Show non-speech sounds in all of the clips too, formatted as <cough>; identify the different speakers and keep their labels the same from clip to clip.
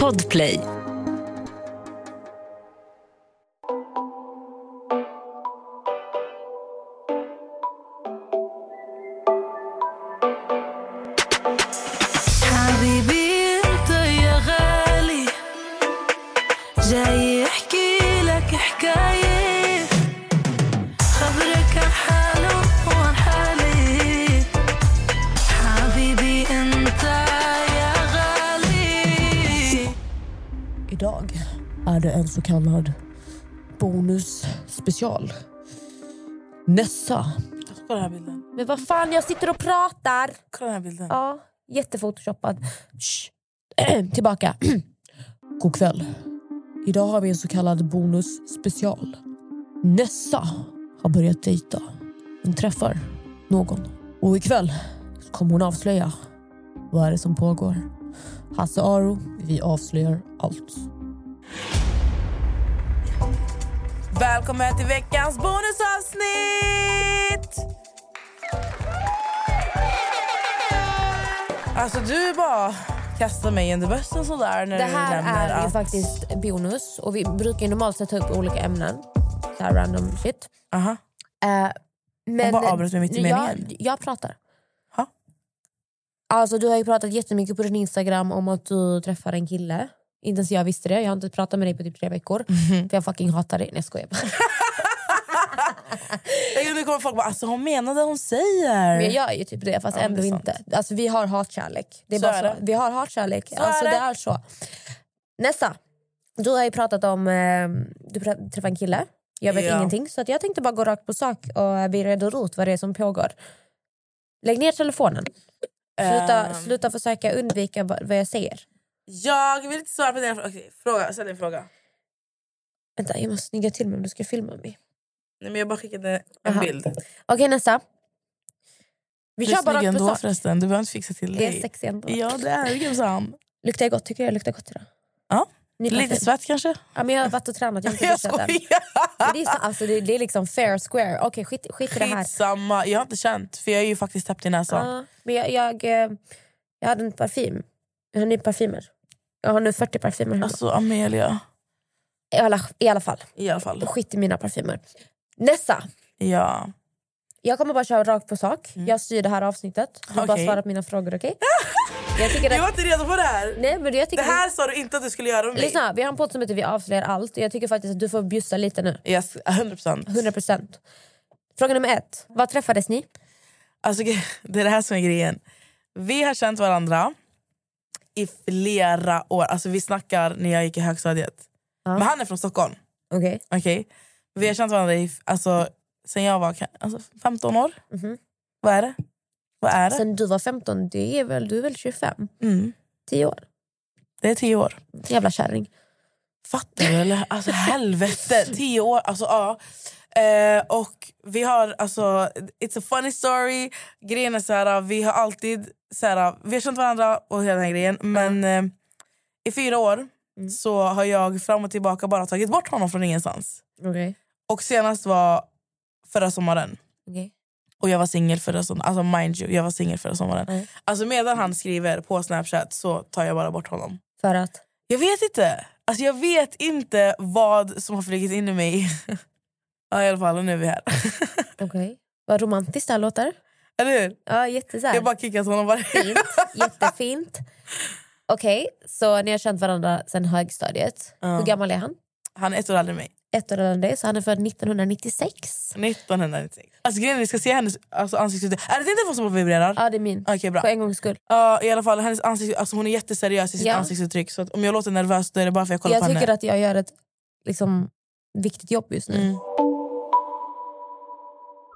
Speaker 1: Podplay.
Speaker 2: حبيبي انت يا غالي جاي احكي لك حكاية خبرك عن حاله وعن حالي حبيبي انت يا غالي
Speaker 3: Idag är det en så kallad bonusspecial. Nessa.
Speaker 4: Kolla den här bilden.
Speaker 3: Men vad fan, jag sitter och pratar!
Speaker 4: Kolla den här bilden.
Speaker 3: Ja, jättefotoshoppad. Shh. <clears throat> Tillbaka. God kväll. Idag har vi en så kallad bonusspecial. Nessa har börjat dejta. Hon träffar någon. Och ikväll kommer hon avslöja vad är det som pågår. Hasse Aro, vi avslöjar allt.
Speaker 4: Välkommen till veckans bonusavsnitt! Alltså du bara kastar mig under bussen sådär när
Speaker 3: Det
Speaker 4: du lämnar
Speaker 3: här är ju
Speaker 4: att-
Speaker 3: faktiskt bonus och vi brukar ju normalt sett ta upp olika ämnen. Så här random shit.
Speaker 4: Aha.
Speaker 3: Eh, men
Speaker 4: bara avbröt mig mitt i meningen.
Speaker 3: Jag, jag pratar.
Speaker 4: Ha?
Speaker 3: Alltså du har ju pratat jättemycket på din Instagram om att du träffar en kille. Inte ens jag visste det. Jag har inte pratat med dig på typ tre veckor.
Speaker 4: Mm-hmm.
Speaker 3: För jag fucking hatar dig. Nej jag skojar bara.
Speaker 4: Jag- Nu kommer folk bara alltså hon menar det hon säger.
Speaker 3: Men jag gör ju typ det fast
Speaker 4: Ja, men
Speaker 3: ändå
Speaker 4: det är
Speaker 3: inte. Alltså vi har hatkärlek. Det är
Speaker 4: Så
Speaker 3: bara
Speaker 4: är
Speaker 3: så.
Speaker 4: det.
Speaker 3: Vi har hatkärlek.
Speaker 4: Så
Speaker 3: alltså
Speaker 4: är
Speaker 3: det
Speaker 4: det.
Speaker 3: är så. Nästa. Du har ju pratat om, eh, du pra- träffade en kille. Jag vet
Speaker 4: Ja.
Speaker 3: ingenting. Så att jag tänkte bara gå rakt på sak och eh, vi reder ut vad det är som pågår. Lägg ner telefonen. Sluta,
Speaker 4: Ehm.
Speaker 3: sluta försöka undvika vad vad jag säger.
Speaker 4: Jag vill inte svara på den okay, fråga. Ställ en fråga.
Speaker 3: Vänta, jag måste snygga till mig om du ska filma mig.
Speaker 4: Nej, men jag bara skickade en
Speaker 3: Aha.
Speaker 4: bild.
Speaker 3: Okej, nästa. Vi
Speaker 4: Du
Speaker 3: kör bara
Speaker 4: är snygg
Speaker 3: rakt på
Speaker 4: ändå
Speaker 3: sak.
Speaker 4: förresten. Du behöver inte fixa till
Speaker 3: Det är
Speaker 4: dig.
Speaker 3: sexigt ändå.
Speaker 4: Ja det är gumsan.
Speaker 3: Luktar jag gott? Tycker du jag luktar gott idag?
Speaker 4: Ja.
Speaker 3: Ny
Speaker 4: Lite
Speaker 3: parfym.
Speaker 4: svett kanske?
Speaker 3: Ja, men jag har varit och tränat. Jag har inte
Speaker 4: <laughs> Jag
Speaker 3: duschat än.
Speaker 4: skojar!
Speaker 3: Men Det är, så, alltså, det, det är liksom fair square. Okej, skit, skit i det här. Ah.
Speaker 4: Skitsamma, jag har inte känt för jag är ju faktiskt täppt i näsan.
Speaker 3: Ja, men jag, jag, eh, jag hade en parfym. Jag har nya parfymer. Jag har nu 40 parfymer hemma.
Speaker 4: Alltså Amelia,
Speaker 3: I, alla, I alla fall,
Speaker 4: i alla fall.
Speaker 3: skit i mina parfymer. Nessa,
Speaker 4: Ja.
Speaker 3: jag kommer bara köra rakt på sak. Jag styr det här avsnittet. Du bara
Speaker 4: Mm. Okej.
Speaker 3: svara på mina frågor, okej? jag tycker
Speaker 4: <laughs> Jag
Speaker 3: att...
Speaker 4: var inte redo på det här.
Speaker 3: Nej, men jag
Speaker 4: Det
Speaker 3: tycker
Speaker 4: här sa du inte att du skulle göra med
Speaker 3: Vi,
Speaker 4: mig.
Speaker 3: lyssna, vi har en podd som heter Vi avslöjar allt. Och jag tycker faktiskt att du får bjussa lite nu.
Speaker 4: Yes, 100%.
Speaker 3: 100%. Fråga nummer ett. Var träffades ni?
Speaker 4: Alltså, det är det här som är grejen. Vi har känt varandra i flera år. Alltså, vi snackar när jag gick i högstadiet. Men han är från Stockholm.
Speaker 3: Okej.
Speaker 4: Okej? Vi har känt varandra i, alltså, sen jag var ka- alltså, 15 år. Vad är det? Vad är det?
Speaker 3: Mhm. Sen du var 15, det är väl, du är väl 25?
Speaker 4: Mm.
Speaker 3: 10 år.
Speaker 4: Det är 10 år.
Speaker 3: Jävla kärring.
Speaker 4: Fattar du eller? Alltså helvete, tio år. Alltså ja. Eh, och vi har alltså, it's a funny story. Grejen är så här, vi har alltid så här, vi har känt varandra och hela den här grejen. Men eh, i fyra år så har jag fram och tillbaka bara tagit bort honom från ingenstans.
Speaker 3: Okej.
Speaker 4: Och senast var förra sommaren.
Speaker 3: Okej.
Speaker 4: Och jag var singel förra sommaren. Alltså mind you, jag var singel förra sommaren.
Speaker 3: Mm.
Speaker 4: Alltså medan han skriver på Snapchat så tar jag bara bort honom.
Speaker 3: För att?
Speaker 4: Jag vet inte. Alltså jag vet inte vad som har flugit in i mig. <laughs> ja, I alla fall, och nu är vi här. <laughs>
Speaker 3: Okej. Vad romantiskt det här låter.
Speaker 4: Eller hur?
Speaker 3: Ja, jätte så här.
Speaker 4: Jag bara kickat honom. Bara. <laughs>
Speaker 3: Fint. Jättefint. Okej, så ni har känt varandra sen högstadiet.
Speaker 4: Ja.
Speaker 3: Hur gammal är han?
Speaker 4: Han är ett år äldre än mig.
Speaker 3: Ett år äldre än dig, så han är född 1996.
Speaker 4: 1996. Alltså grejen är, vi ska se hennes alltså, ansiktsuttryck. Är det din telefon som vibrerar?
Speaker 3: Ja, det är min.
Speaker 4: Okej, bra.
Speaker 3: För en gångs skull.
Speaker 4: Ja, I alla fall, hennes ansikt, alltså, hon är jätteseriös i sitt
Speaker 3: Ja.
Speaker 4: ansiktsuttryck. Så att om jag låter nervös då är det bara för att jag kollar
Speaker 3: Jag
Speaker 4: på
Speaker 3: tycker
Speaker 4: henne.
Speaker 3: att jag gör ett liksom, viktigt jobb just nu.
Speaker 4: Mm.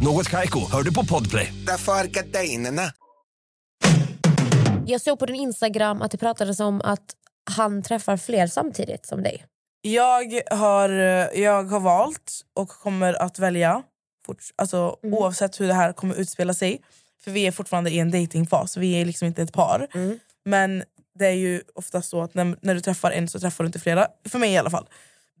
Speaker 5: Något Kaiko, hör du på Podplay.
Speaker 6: Därför är gardinerna.
Speaker 3: Jag såg på din Instagram att det pratades om att han träffar fler samtidigt som dig.
Speaker 4: Jag har, eh, jag har valt och kommer att välja fort, alltså, oavsett hur det här kommer utspela sig. För vi är fortfarande i en datingfas. vi är liksom inte ett par. Men det är ju ofta så att när, när du träffar en så träffar du inte flera. För mig i alla fall.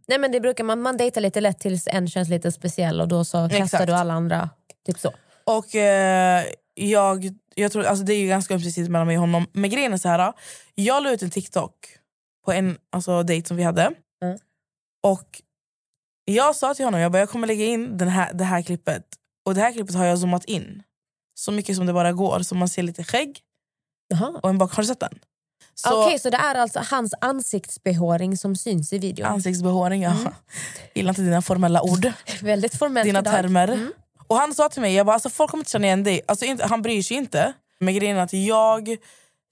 Speaker 7: Nej men det brukar man, man dejtar lite lätt tills en känns lite speciell och då så kastar
Speaker 4: Exakt.
Speaker 7: du alla andra. Typ så.
Speaker 4: Och eh, jag, jag tror, alltså det är ju ganska ömsesidigt mellan mig och honom. Men grejen är så här. Jag la ut en TikTok på en alltså, dejt som vi hade.
Speaker 7: Mm.
Speaker 4: Och jag sa till honom jag, bara, jag kommer lägga in den här, det här klippet. Och det här klippet har jag zoomat in. Så mycket som det bara går. Så man ser lite skägg
Speaker 7: Jaha.
Speaker 4: och en bak. Har du sett den? Så
Speaker 7: Okej, så det är alltså hans ansiktsbehåring som syns i videon.
Speaker 4: ansiktsbehåring, ja. Gillar inte dina formella ord.
Speaker 7: Väldigt formellt
Speaker 4: dina
Speaker 7: idag.
Speaker 4: termer. Och han sa till mig, jag bara, alltså, folk kommer inte känna igen dig. Alltså, inte, han bryr sig inte. Men grejen är att jag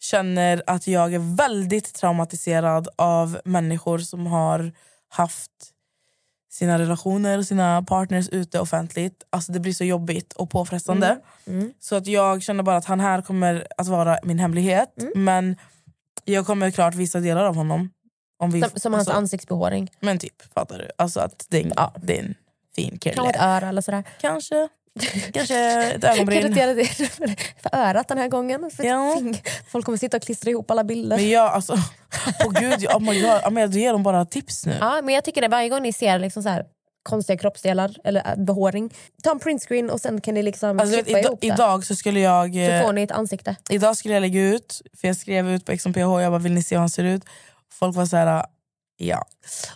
Speaker 4: känner att jag är väldigt traumatiserad av människor som har haft sina relationer och sina partners ute offentligt. Alltså det blir så jobbigt och påfrestande.
Speaker 7: Mm.
Speaker 4: Så att jag känner bara att han här kommer att vara min hemlighet.
Speaker 7: Mm.
Speaker 4: Men jag kommer klart visa delar av honom. Om vi,
Speaker 7: Som, som hans
Speaker 4: alltså,
Speaker 7: ansiktsbehåring.
Speaker 4: men typ, fattar du? Alltså att det är en, ja, det är en fin kille.
Speaker 7: Kan vara ett öra eller sådär. <laughs>
Speaker 4: Kanske. Kanske ett
Speaker 7: Kan du inte
Speaker 4: ögonbryn.
Speaker 7: göra det <laughs> för, för örat den här gången? För
Speaker 4: Ja.
Speaker 7: Folk kommer sitta och klistra ihop alla bilder.
Speaker 4: Men jag alltså... Åh gud, oh my God. Amelia, du ger dem bara tips nu.
Speaker 7: Ja, men jag tycker det varje gång ni ser liksom så här, konstiga kroppsdelar eller äh, behåring. Ta en printscreen och sen kan ni liksom
Speaker 4: Alltså, du
Speaker 7: klippa
Speaker 4: vet, ida-
Speaker 7: ihop det.
Speaker 4: idag så skulle jag...
Speaker 7: Så
Speaker 4: Eh,
Speaker 7: får ni ett ansikte.
Speaker 4: idag skulle jag lägga ut, för jag skrev ut på XMPH, jag bara vill ni se hur han ser ut? Folk var så här, ja.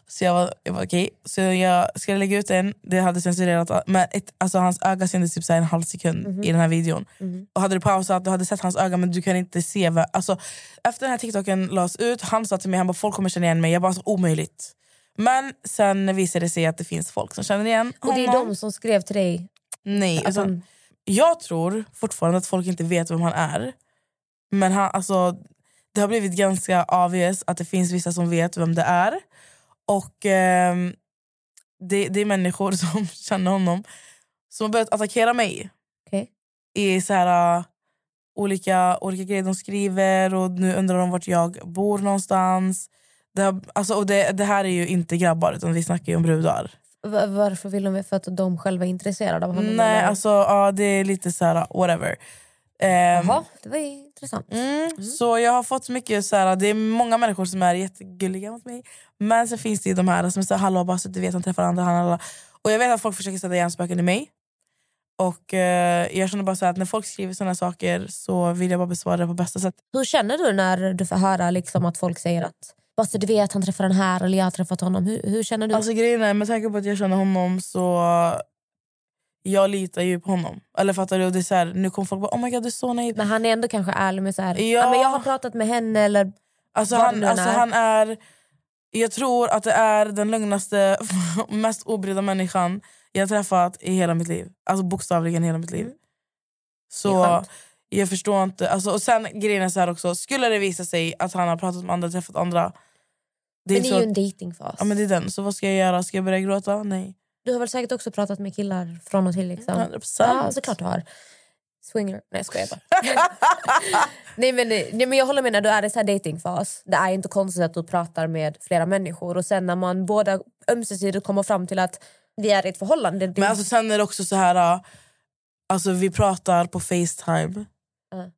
Speaker 4: Så jag var, jag var okej. Så jag skulle lägga ut en, det hade censurerat, men ett, alltså hans öga syntes typ så här en halv sekund
Speaker 7: Mhm.
Speaker 4: i den här videon. Och hade du pausat, du hade sett hans öga men du kan inte se. Vad, alltså, efter den här tiktoken lades ut, han sa till mig, han bara folk kommer känna igen mig. Jag bara, så omöjligt. Men sen visade det sig att det finns folk som känner igen
Speaker 7: Och det är
Speaker 4: honom.
Speaker 7: de som skrev till dig.
Speaker 4: Nej,
Speaker 7: Alltså-
Speaker 4: utan, jag tror fortfarande att folk inte vet vem han är. Men han, alltså, det har blivit ganska obvious att det finns vissa som vet vem det är. Och ehm, det, det är människor <laughs> som känner honom som har börjat attackera mig.
Speaker 7: Okej.
Speaker 4: I så här, äh, olika, olika grejer de skriver och nu undrar de vart jag bor någonstans. Det, har- alltså, och det, det här är ju inte grabbar utan vi snackar ju om brudar.
Speaker 7: Va- Varför vill de? För att de själva är intresserade av honom?
Speaker 4: Nej,
Speaker 7: eller?
Speaker 4: alltså ja, det är lite så här, whatever. Ehm,
Speaker 7: Jaha, det var ju intressant.
Speaker 4: mm, Så jag har fått så mycket så här, det är många människor som är jättegulliga mot mig. Men sen finns det ju de här som är så här, hallå bara så att du vet, han träffar andra, han, alla. Och jag vet att folk försöker sätta hjärnspöken i mig. Och eh, jag känner bara så här, att när folk skriver såna saker så vill jag bara besvara det på bästa sätt.
Speaker 7: Hur känner du när du får höra liksom att folk säger att bara så du vet han träffar den här eller jag har träffat honom. Hur, hur känner du?
Speaker 4: Alltså grejen är, med tanke på att jag känner honom så... Jag litar ju på honom. Eller fattar du? Och Det är så här, nu kommer folk bara, oh my god du är så naiv.
Speaker 7: men han är ändå kanske ärlig med så här,
Speaker 4: Ja.
Speaker 7: ja. men jag har pratat med henne eller
Speaker 4: Alltså
Speaker 7: vad det
Speaker 4: han,
Speaker 7: nu än
Speaker 4: alltså
Speaker 7: är.
Speaker 4: han är... Jag tror att det är den lugnaste, <laughs> mest obrydda människan jag har träffat i hela mitt liv. Alltså bokstavligen hela mitt liv.
Speaker 7: Mm. Det är
Speaker 4: Så
Speaker 7: skönt.
Speaker 4: jag förstår inte. Alltså, och sen grejen är så här också, skulle det visa sig att han har pratat med andra, träffat andra. Det
Speaker 7: men det är
Speaker 4: så,
Speaker 7: ju en dejtingfas.
Speaker 4: ja, men det är den. Så vad ska jag göra? Ska jag börja gråta? Nej.
Speaker 7: Du har väl säkert också pratat med killar från och till? Liksom.
Speaker 4: 100%.
Speaker 7: Ja, såklart du har. Swinger. Nej,
Speaker 4: <laughs>
Speaker 7: jag skojar bara. nej, men, nej, men jag håller med. När du är i så här datingfas, det är inte konstigt att du pratar med flera människor. Och sen när man båda ömsesidigt kommer fram till att vi är i ett förhållande. Det,
Speaker 4: Men alltså, sen är det också så här... äh, Alltså, vi pratar på Facetime
Speaker 7: Ja.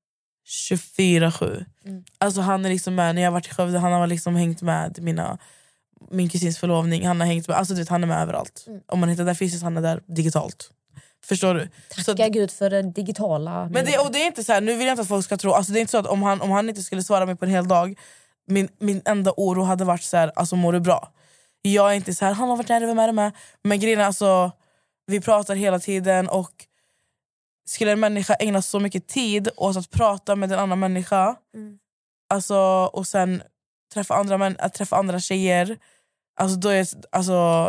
Speaker 4: 24-7. Alltså, han är liksom med när jag har varit i Skövde. Han har liksom hängt med mina, min kusins förlovning. Han, har hängt med, alltså, du vet, han är med överallt. Om man inte är där fysiskt, han är där digitalt. Förstår du? Så att-
Speaker 7: Tacka gud för det digitala.
Speaker 4: men det, och det är inte så här, nu vill jag inte att folk ska tro, alltså det är inte så att om han, om han inte skulle svara mig på en hel dag, min, min enda oro hade varit så här, alltså mår du bra? Jag är inte så här, han har varit där, vem är det med? Men grejen är alltså, vi pratar hela tiden och skulle en människa ägna så mycket tid åt att prata med en annan människa alltså, och sen träffa andra, män, att träffa andra tjejer, alltså då är jag, alltså,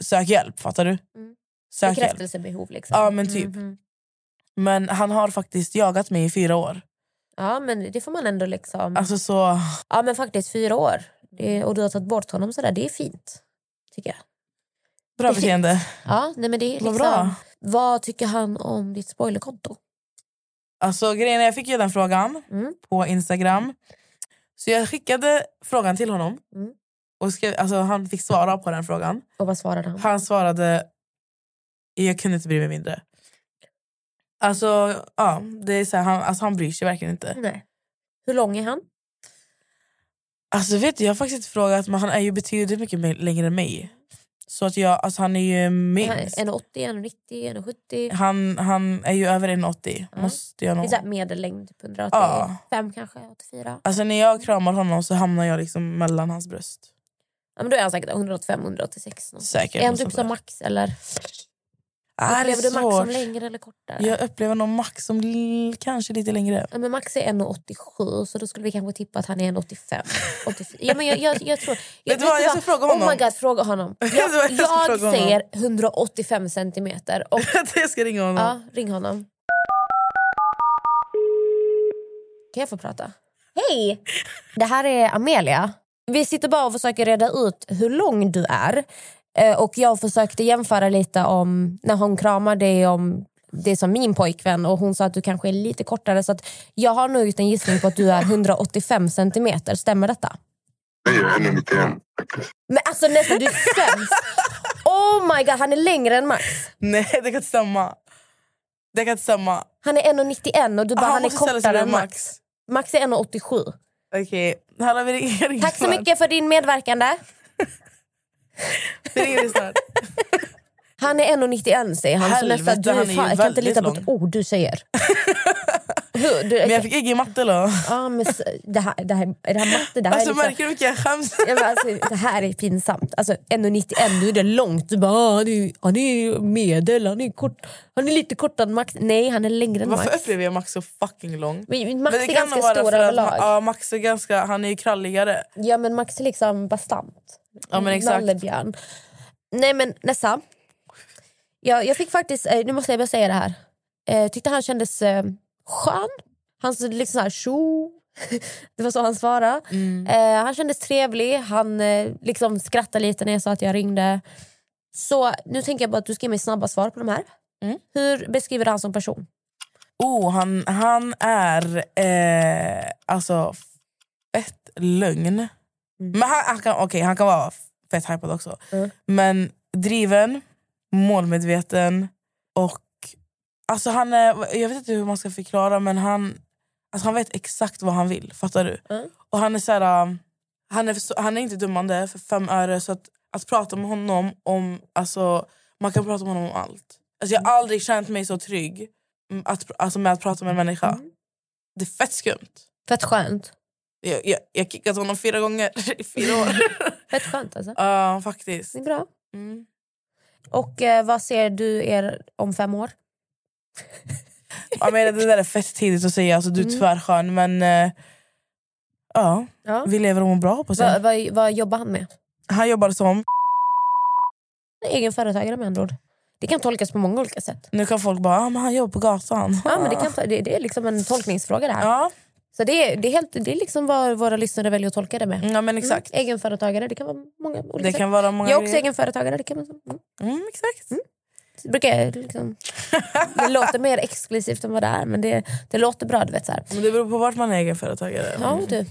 Speaker 4: sök hjälp, fattar du? Sök hjälp.
Speaker 7: Bekräftelsebehov. Liksom.
Speaker 4: Ja, men typ.
Speaker 7: Mhm.
Speaker 4: Men han har faktiskt jagat mig i fyra år.
Speaker 7: Ja, men det får man ändå liksom...
Speaker 4: Alltså så...
Speaker 7: Ja, men faktiskt fyra år. Det, och du har tagit bort honom sådär. Det är fint, tycker jag.
Speaker 4: Bra beteende.
Speaker 7: Ja, nej, men det är liksom,
Speaker 4: Vad bra.
Speaker 7: Vad tycker han om ditt spoilerkonto?
Speaker 4: Alltså, grejen är, jag fick ju den frågan
Speaker 7: Mm.
Speaker 4: på Instagram. Så jag skickade frågan till honom.
Speaker 7: Mm.
Speaker 4: Och skrev, alltså, han fick svara på den frågan.
Speaker 7: Och vad svarade han?
Speaker 4: Han svarade jag kunde inte bry mig mindre. Alltså, ja, det är så här, han, alltså, han bryr sig verkligen inte.
Speaker 7: Nej. Hur lång är han?
Speaker 4: Alltså vet du, jag har faktiskt inte frågat men han är ju betydligt mycket mer, längre än mig. Så att jag, alltså han är ju minst.
Speaker 7: 1,80, 1,90, 1,70?
Speaker 4: Han, han är ju över 1,80.
Speaker 7: Ja.
Speaker 4: Måste jag
Speaker 7: Det är
Speaker 4: nog.
Speaker 7: så här medellängd, typ 185
Speaker 4: Ja.
Speaker 7: kanske, 84.
Speaker 4: Alltså när jag kramar honom så hamnar jag liksom mellan hans bröst.
Speaker 7: Ja, men då är han säkert 185, 186. någonstans.
Speaker 4: Säkert.
Speaker 7: Är han
Speaker 4: något
Speaker 7: typ
Speaker 4: sånt
Speaker 7: som
Speaker 4: där.
Speaker 7: Max eller?
Speaker 4: Ah, det är
Speaker 7: Upplever du Max som
Speaker 4: svårt.
Speaker 7: längre eller kortare?
Speaker 4: Jag upplever nog Max som l- kanske lite längre. <laughs>
Speaker 7: Ja, men Max är 1,87 så då skulle vi kanske tippa att han är 1,85. 84. Ja, men jag, jag, jag tror...
Speaker 4: <laughs>
Speaker 7: Jag,
Speaker 4: Vet du vad, jag ska fråga honom.
Speaker 7: Oh my god, fråga honom. Jag,
Speaker 4: du vad, <laughs> jag ska
Speaker 7: jag
Speaker 4: fråga honom.
Speaker 7: säger 185 centimeter. Och,
Speaker 4: jag ska ringa honom.
Speaker 7: ja, ring honom. Kan jag få prata? Hej! Det här är Amelia. Vi sitter bara och försöker reda ut hur lång du är. Eh, Och Jag försökte jämföra lite om när hon kramar dig om det är som min pojkvän och hon sa att du kanske är lite kortare. Så att jag har nog gjort en gissning på att du är 185 centimeter. Stämmer detta?
Speaker 8: Nej, jag är 91 faktiskt.
Speaker 7: Men alltså nästan, du är sämst! Oh my god, han är längre än Max.
Speaker 4: Nej, det kan inte stämma. Det kan inte stämma.
Speaker 7: Han är 1,91 och du bara han är
Speaker 4: måste ställa sig
Speaker 7: kortare än
Speaker 4: bredvid
Speaker 7: Max. Max är 1,87.
Speaker 4: Okej, här har vi ringt
Speaker 7: Tack så mycket för din medverkande.
Speaker 4: Vi ringer dig snart.
Speaker 7: Han är 1,91 säger han. så
Speaker 4: Helvete,
Speaker 7: nästan, du,
Speaker 4: han är
Speaker 7: är
Speaker 4: ju
Speaker 7: fan, jag kan inte
Speaker 4: väldigt
Speaker 7: lita på ett
Speaker 4: lång.
Speaker 7: ord
Speaker 4: <laughs>
Speaker 7: du säger. Hur, du,
Speaker 4: Men jag fick IG i matte då.
Speaker 7: ah, men, s- det, här, det, här, är det här matte? Det här,
Speaker 4: Alltså
Speaker 7: är liksom,
Speaker 4: märker du hur mycket jag skäms?
Speaker 7: ja, men alltså, det här är pinsamt. Alltså, 1,91, nu är det långt. Du bara, ah, han, är, han är medel, han är, kort, han är lite kortare än Max. Nej, han är längre än
Speaker 4: Varför
Speaker 7: Max.
Speaker 4: upplever jag Max så fucking lång?
Speaker 7: Men Max
Speaker 4: Men det kan
Speaker 7: är ganska
Speaker 4: nog vara
Speaker 7: stor
Speaker 4: för att-
Speaker 7: överlag.
Speaker 4: Ja, Max är ganska, han är ju kralligare.
Speaker 7: Ja men Max är liksom bastant.
Speaker 4: Ja, men exakt.
Speaker 7: Nallebjörn. Nej men Nessa. Jag, jag fick faktiskt, eh, nu måste jag bara säga det här. Eh, tyckte han kändes eh, skön. Han så liksom så här tjo. <laughs> Det var så han svarade.
Speaker 4: Mm.
Speaker 7: Eh, han kändes trevlig. Han eh, liksom skrattade lite när jag sa att jag ringde. Så nu tänker jag bara att du ska ge mig snabba svar på de här.
Speaker 4: Mm.
Speaker 7: Hur beskriver du han som person?
Speaker 4: Oh, han, han är eh, alltså fett lögn. Men han, han, kan, okej, han kan vara fett hypad också.
Speaker 7: Mm.
Speaker 4: Men driven, målmedveten och... Alltså han är, jag vet inte hur man ska förklara men han, alltså han vet exakt vad han vill. Fattar du?
Speaker 7: Mm.
Speaker 4: Och han är så här, um, han är, för, han är inte dummande för fem öre så att, att prata med honom om... Alltså, man kan prata med honom om allt. Alltså, jag har aldrig känt mig så trygg mm, att, alltså, med att prata med en människa.
Speaker 7: Mm.
Speaker 4: Det är fett skumt. <laughs>
Speaker 7: Fett skönt.
Speaker 4: Jag, jag, jag har kickat honom fyra gånger <laughs> i fyra år.
Speaker 7: Fett skönt alltså.
Speaker 4: Ja, faktiskt.
Speaker 7: Det är bra.
Speaker 4: Mm.
Speaker 7: Och eh, vad ser du er om fem år?
Speaker 4: Ja, men det där är fett tidigt att säga, alltså, du är
Speaker 7: Mm.
Speaker 4: tvärskön. Men eh, ja,
Speaker 7: Ja.
Speaker 4: vi lever och mår bra hoppas
Speaker 7: Vad
Speaker 4: jag.
Speaker 7: vad- vad jobbar han med?
Speaker 4: Han jobbar som...
Speaker 7: Egen företagare med andra ord. Det kan tolkas på många olika sätt.
Speaker 4: Nu kan folk bara, ah, men han jobbar på gatan.
Speaker 7: Ja, men det, kan, det, det är liksom en tolkningsfråga det här.
Speaker 4: ja,
Speaker 7: Så det är, det, är helt, det är liksom vad våra lyssnare väljer att tolka det med.
Speaker 4: ja, men exakt.
Speaker 7: Mm. Egenföretagare, det kan vara många olika
Speaker 4: Det
Speaker 7: sätt.
Speaker 4: kan vara många
Speaker 7: Jag är också
Speaker 4: grejer.
Speaker 7: egenföretagare. Det, kan man, mm.
Speaker 4: Mm, exakt.
Speaker 7: det, brukar
Speaker 4: <laughs>
Speaker 7: jag liksom, det låter mer exklusivt än vad det är, men det, det låter bra. Du vet, så här.
Speaker 4: Men det beror på vart man är egenföretagare.
Speaker 7: Ja, du.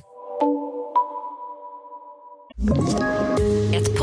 Speaker 1: Ett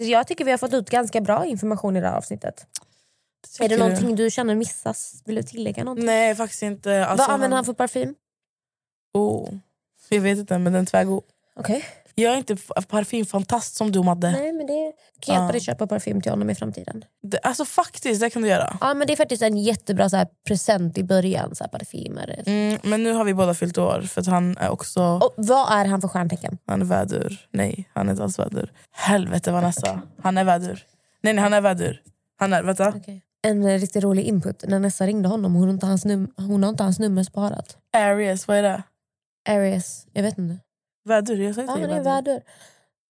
Speaker 7: Jag tycker vi har fått ut ganska bra information i det här avsnittet. är det
Speaker 4: Tycker du?
Speaker 7: någonting du känner missas? Vill du tillägga någonting?
Speaker 4: Nej, faktiskt inte. Alltså,
Speaker 7: vad använder han för parfym?
Speaker 4: Oh. Jag vet inte, men den är tvärgod.
Speaker 7: Okej.
Speaker 4: Jag är inte f- parfymfantast som du, Madde.
Speaker 7: Nej, men det kan hjälpa
Speaker 4: Ja.
Speaker 7: dig köpa parfym till honom i framtiden.
Speaker 4: Det, alltså faktiskt, det kan du göra.
Speaker 7: Ja, men Det är faktiskt en jättebra så här, present i början, så här, parfymer.
Speaker 4: Mm, men nu har vi båda fyllt år för att han är också...
Speaker 7: Och vad är han för stjärntecken?
Speaker 4: Han är vädur. Nej, han är inte alls vädur. Helvete Vanessa. Han är vädur. Nej, nej han är vädur. Han är, vänta.
Speaker 7: En eh, riktigt rolig input. När Nessa ringde honom hon har inte hans, num- hon har inte hans nummer sparat.
Speaker 4: Aries, vad är det?
Speaker 7: Aries, jag vet inte.
Speaker 4: Vädur, jag sa ju
Speaker 7: Ja,
Speaker 4: till
Speaker 7: han
Speaker 4: dig
Speaker 7: är
Speaker 4: vädur.
Speaker 7: vädur.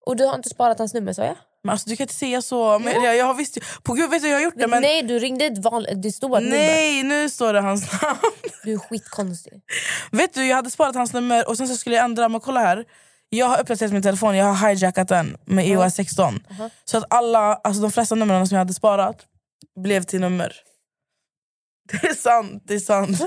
Speaker 7: Och du har inte sparat hans nummer sa jag?
Speaker 4: Men alltså, du kan inte säga så. Men jag, jag har visst, på gud vet du, jag har gjort det men...
Speaker 7: Nej, du ringde ett vanligt... Det stod ett nummer.
Speaker 4: Nej, nu står det hans namn.
Speaker 7: Du är skitkonstig.
Speaker 4: Vet du, jag hade sparat hans nummer och sen så skulle jag ändra, men kolla här. Jag har uppdaterat min telefon, jag har hijackat den med E iOS 16. Så att alla, alltså de flesta numren som jag hade sparat blev till nummer. <laughs> Det är sant, det är sant.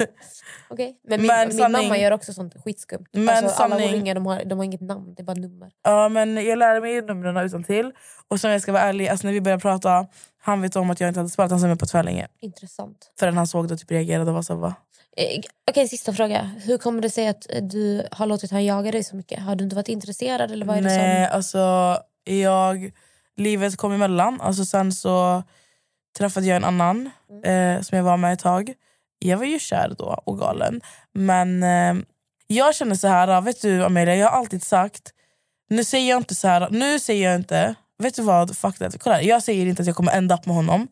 Speaker 7: Okej? Men, min,
Speaker 4: Men
Speaker 7: min
Speaker 4: sanning-
Speaker 7: mamma gör också sånt skitskumt.
Speaker 4: Men
Speaker 7: alltså, alla
Speaker 4: sanning-
Speaker 7: våra ringar, de har, de har inget namn, det är bara nummer.
Speaker 4: Ja, men jag lärde mig numren utan till. Och sen jag ska vara ärlig, alltså när vi började prata, han vet om att jag inte hade sparat hans nummer på tvärlänge.
Speaker 7: Intressant.
Speaker 4: Förrän han såg det och typ reagerade och var så här, va?
Speaker 7: Eh, Okej, sista fråga. Hur kommer det sig att eh, du har låtit han jaga dig så mycket? Har du inte varit intresserad eller vad är det
Speaker 4: Nej,
Speaker 7: som...
Speaker 4: alltså jag... Livet kom emellan. Alltså, sen så träffade jag en annan
Speaker 7: Mm.
Speaker 4: eh, som jag var med ett tag. Jag var ju kär då och galen. Men eh, jag känner så här, vet du Amelia, jag har alltid sagt... Nu säger jag inte så här, nu säger jag inte... Vet du vad, fuck that. Kolla här, jag säger inte att jag kommer ända upp med honom.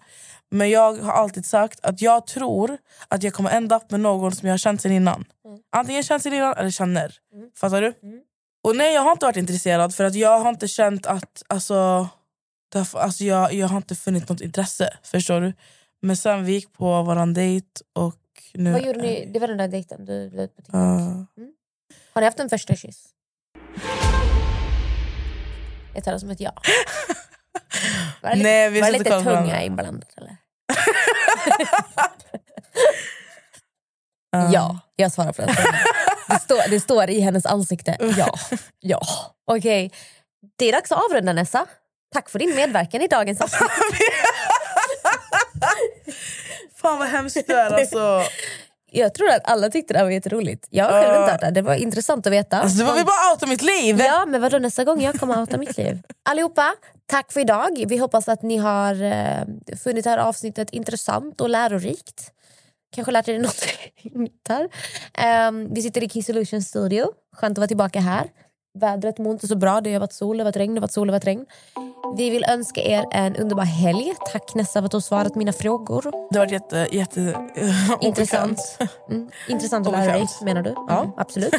Speaker 4: Men jag har alltid sagt att jag tror att jag kommer ända upp med någon som jag har känt sen innan.
Speaker 7: Mm.
Speaker 4: Antingen känt sen innan eller känner. Fattar du? Och nej, jag har inte varit intresserad för att jag har inte känt att... Alltså, därför, alltså jag, jag har inte funnit något intresse. Förstår du? Men sen vi gick på våran dejt och nu... Ah.
Speaker 7: Vad gjorde ni? Det var den där dejten du blev på TikTok.
Speaker 4: eh, Ja.
Speaker 7: Har ni haft en första kyss? Jag tar det som ett ja. Var det
Speaker 4: <laughs>
Speaker 7: lite,
Speaker 4: Nej, vi
Speaker 7: var
Speaker 4: ska
Speaker 7: det
Speaker 4: inte kolla
Speaker 7: lite
Speaker 4: på
Speaker 7: tunga
Speaker 4: den.
Speaker 7: inblandat eller?
Speaker 4: <laughs> Ja.
Speaker 7: Ja, jag svarar på den frågan. det, står, det står i
Speaker 4: <laughs>
Speaker 7: hennes ansikte. Ja. ja. Okej, det är dags att avrunda Nessa. Tack för din medverkan i
Speaker 4: <laughs>
Speaker 7: dagens avsnitt.
Speaker 4: Fan vad hemskt det är
Speaker 7: <laughs>
Speaker 4: alltså.
Speaker 7: Jag tror att alla tyckte det här var jätteroligt. Jag har själv inte hört det. Det var intressant att veta.
Speaker 4: alltså du var väl bara out av mitt liv?
Speaker 7: Ja, men vadå nästa gång jag kommer outa mitt liv. Allihopa, tack för idag. Vi hoppas att ni har eh, funnit det här avsnittet intressant och lärorikt. Kanske lärt er något <laughs> nytt här. Ehm, vi sitter i Kiss Solution Studio. Skönt att vara tillbaka här. Vädret mår inte så bra. Det har varit sol, det har varit regn, det har varit sol, det har varit regn. Vi vill önska er en underbar helg. Tack Nessa för att du har svarat mina frågor.
Speaker 4: Det har varit jätte, jätte eh, <laughs> obekvämt.
Speaker 7: Intressant. Mm. Intressant och
Speaker 4: Och bekvämt.
Speaker 7: lärorikt menar du? Ja. Mm, absolut.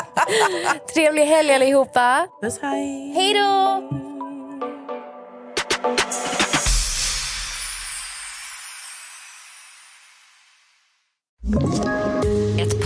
Speaker 7: <laughs> Trevlig helg allihopa.
Speaker 4: Puss, hej.
Speaker 7: Hej då!
Speaker 1: Ett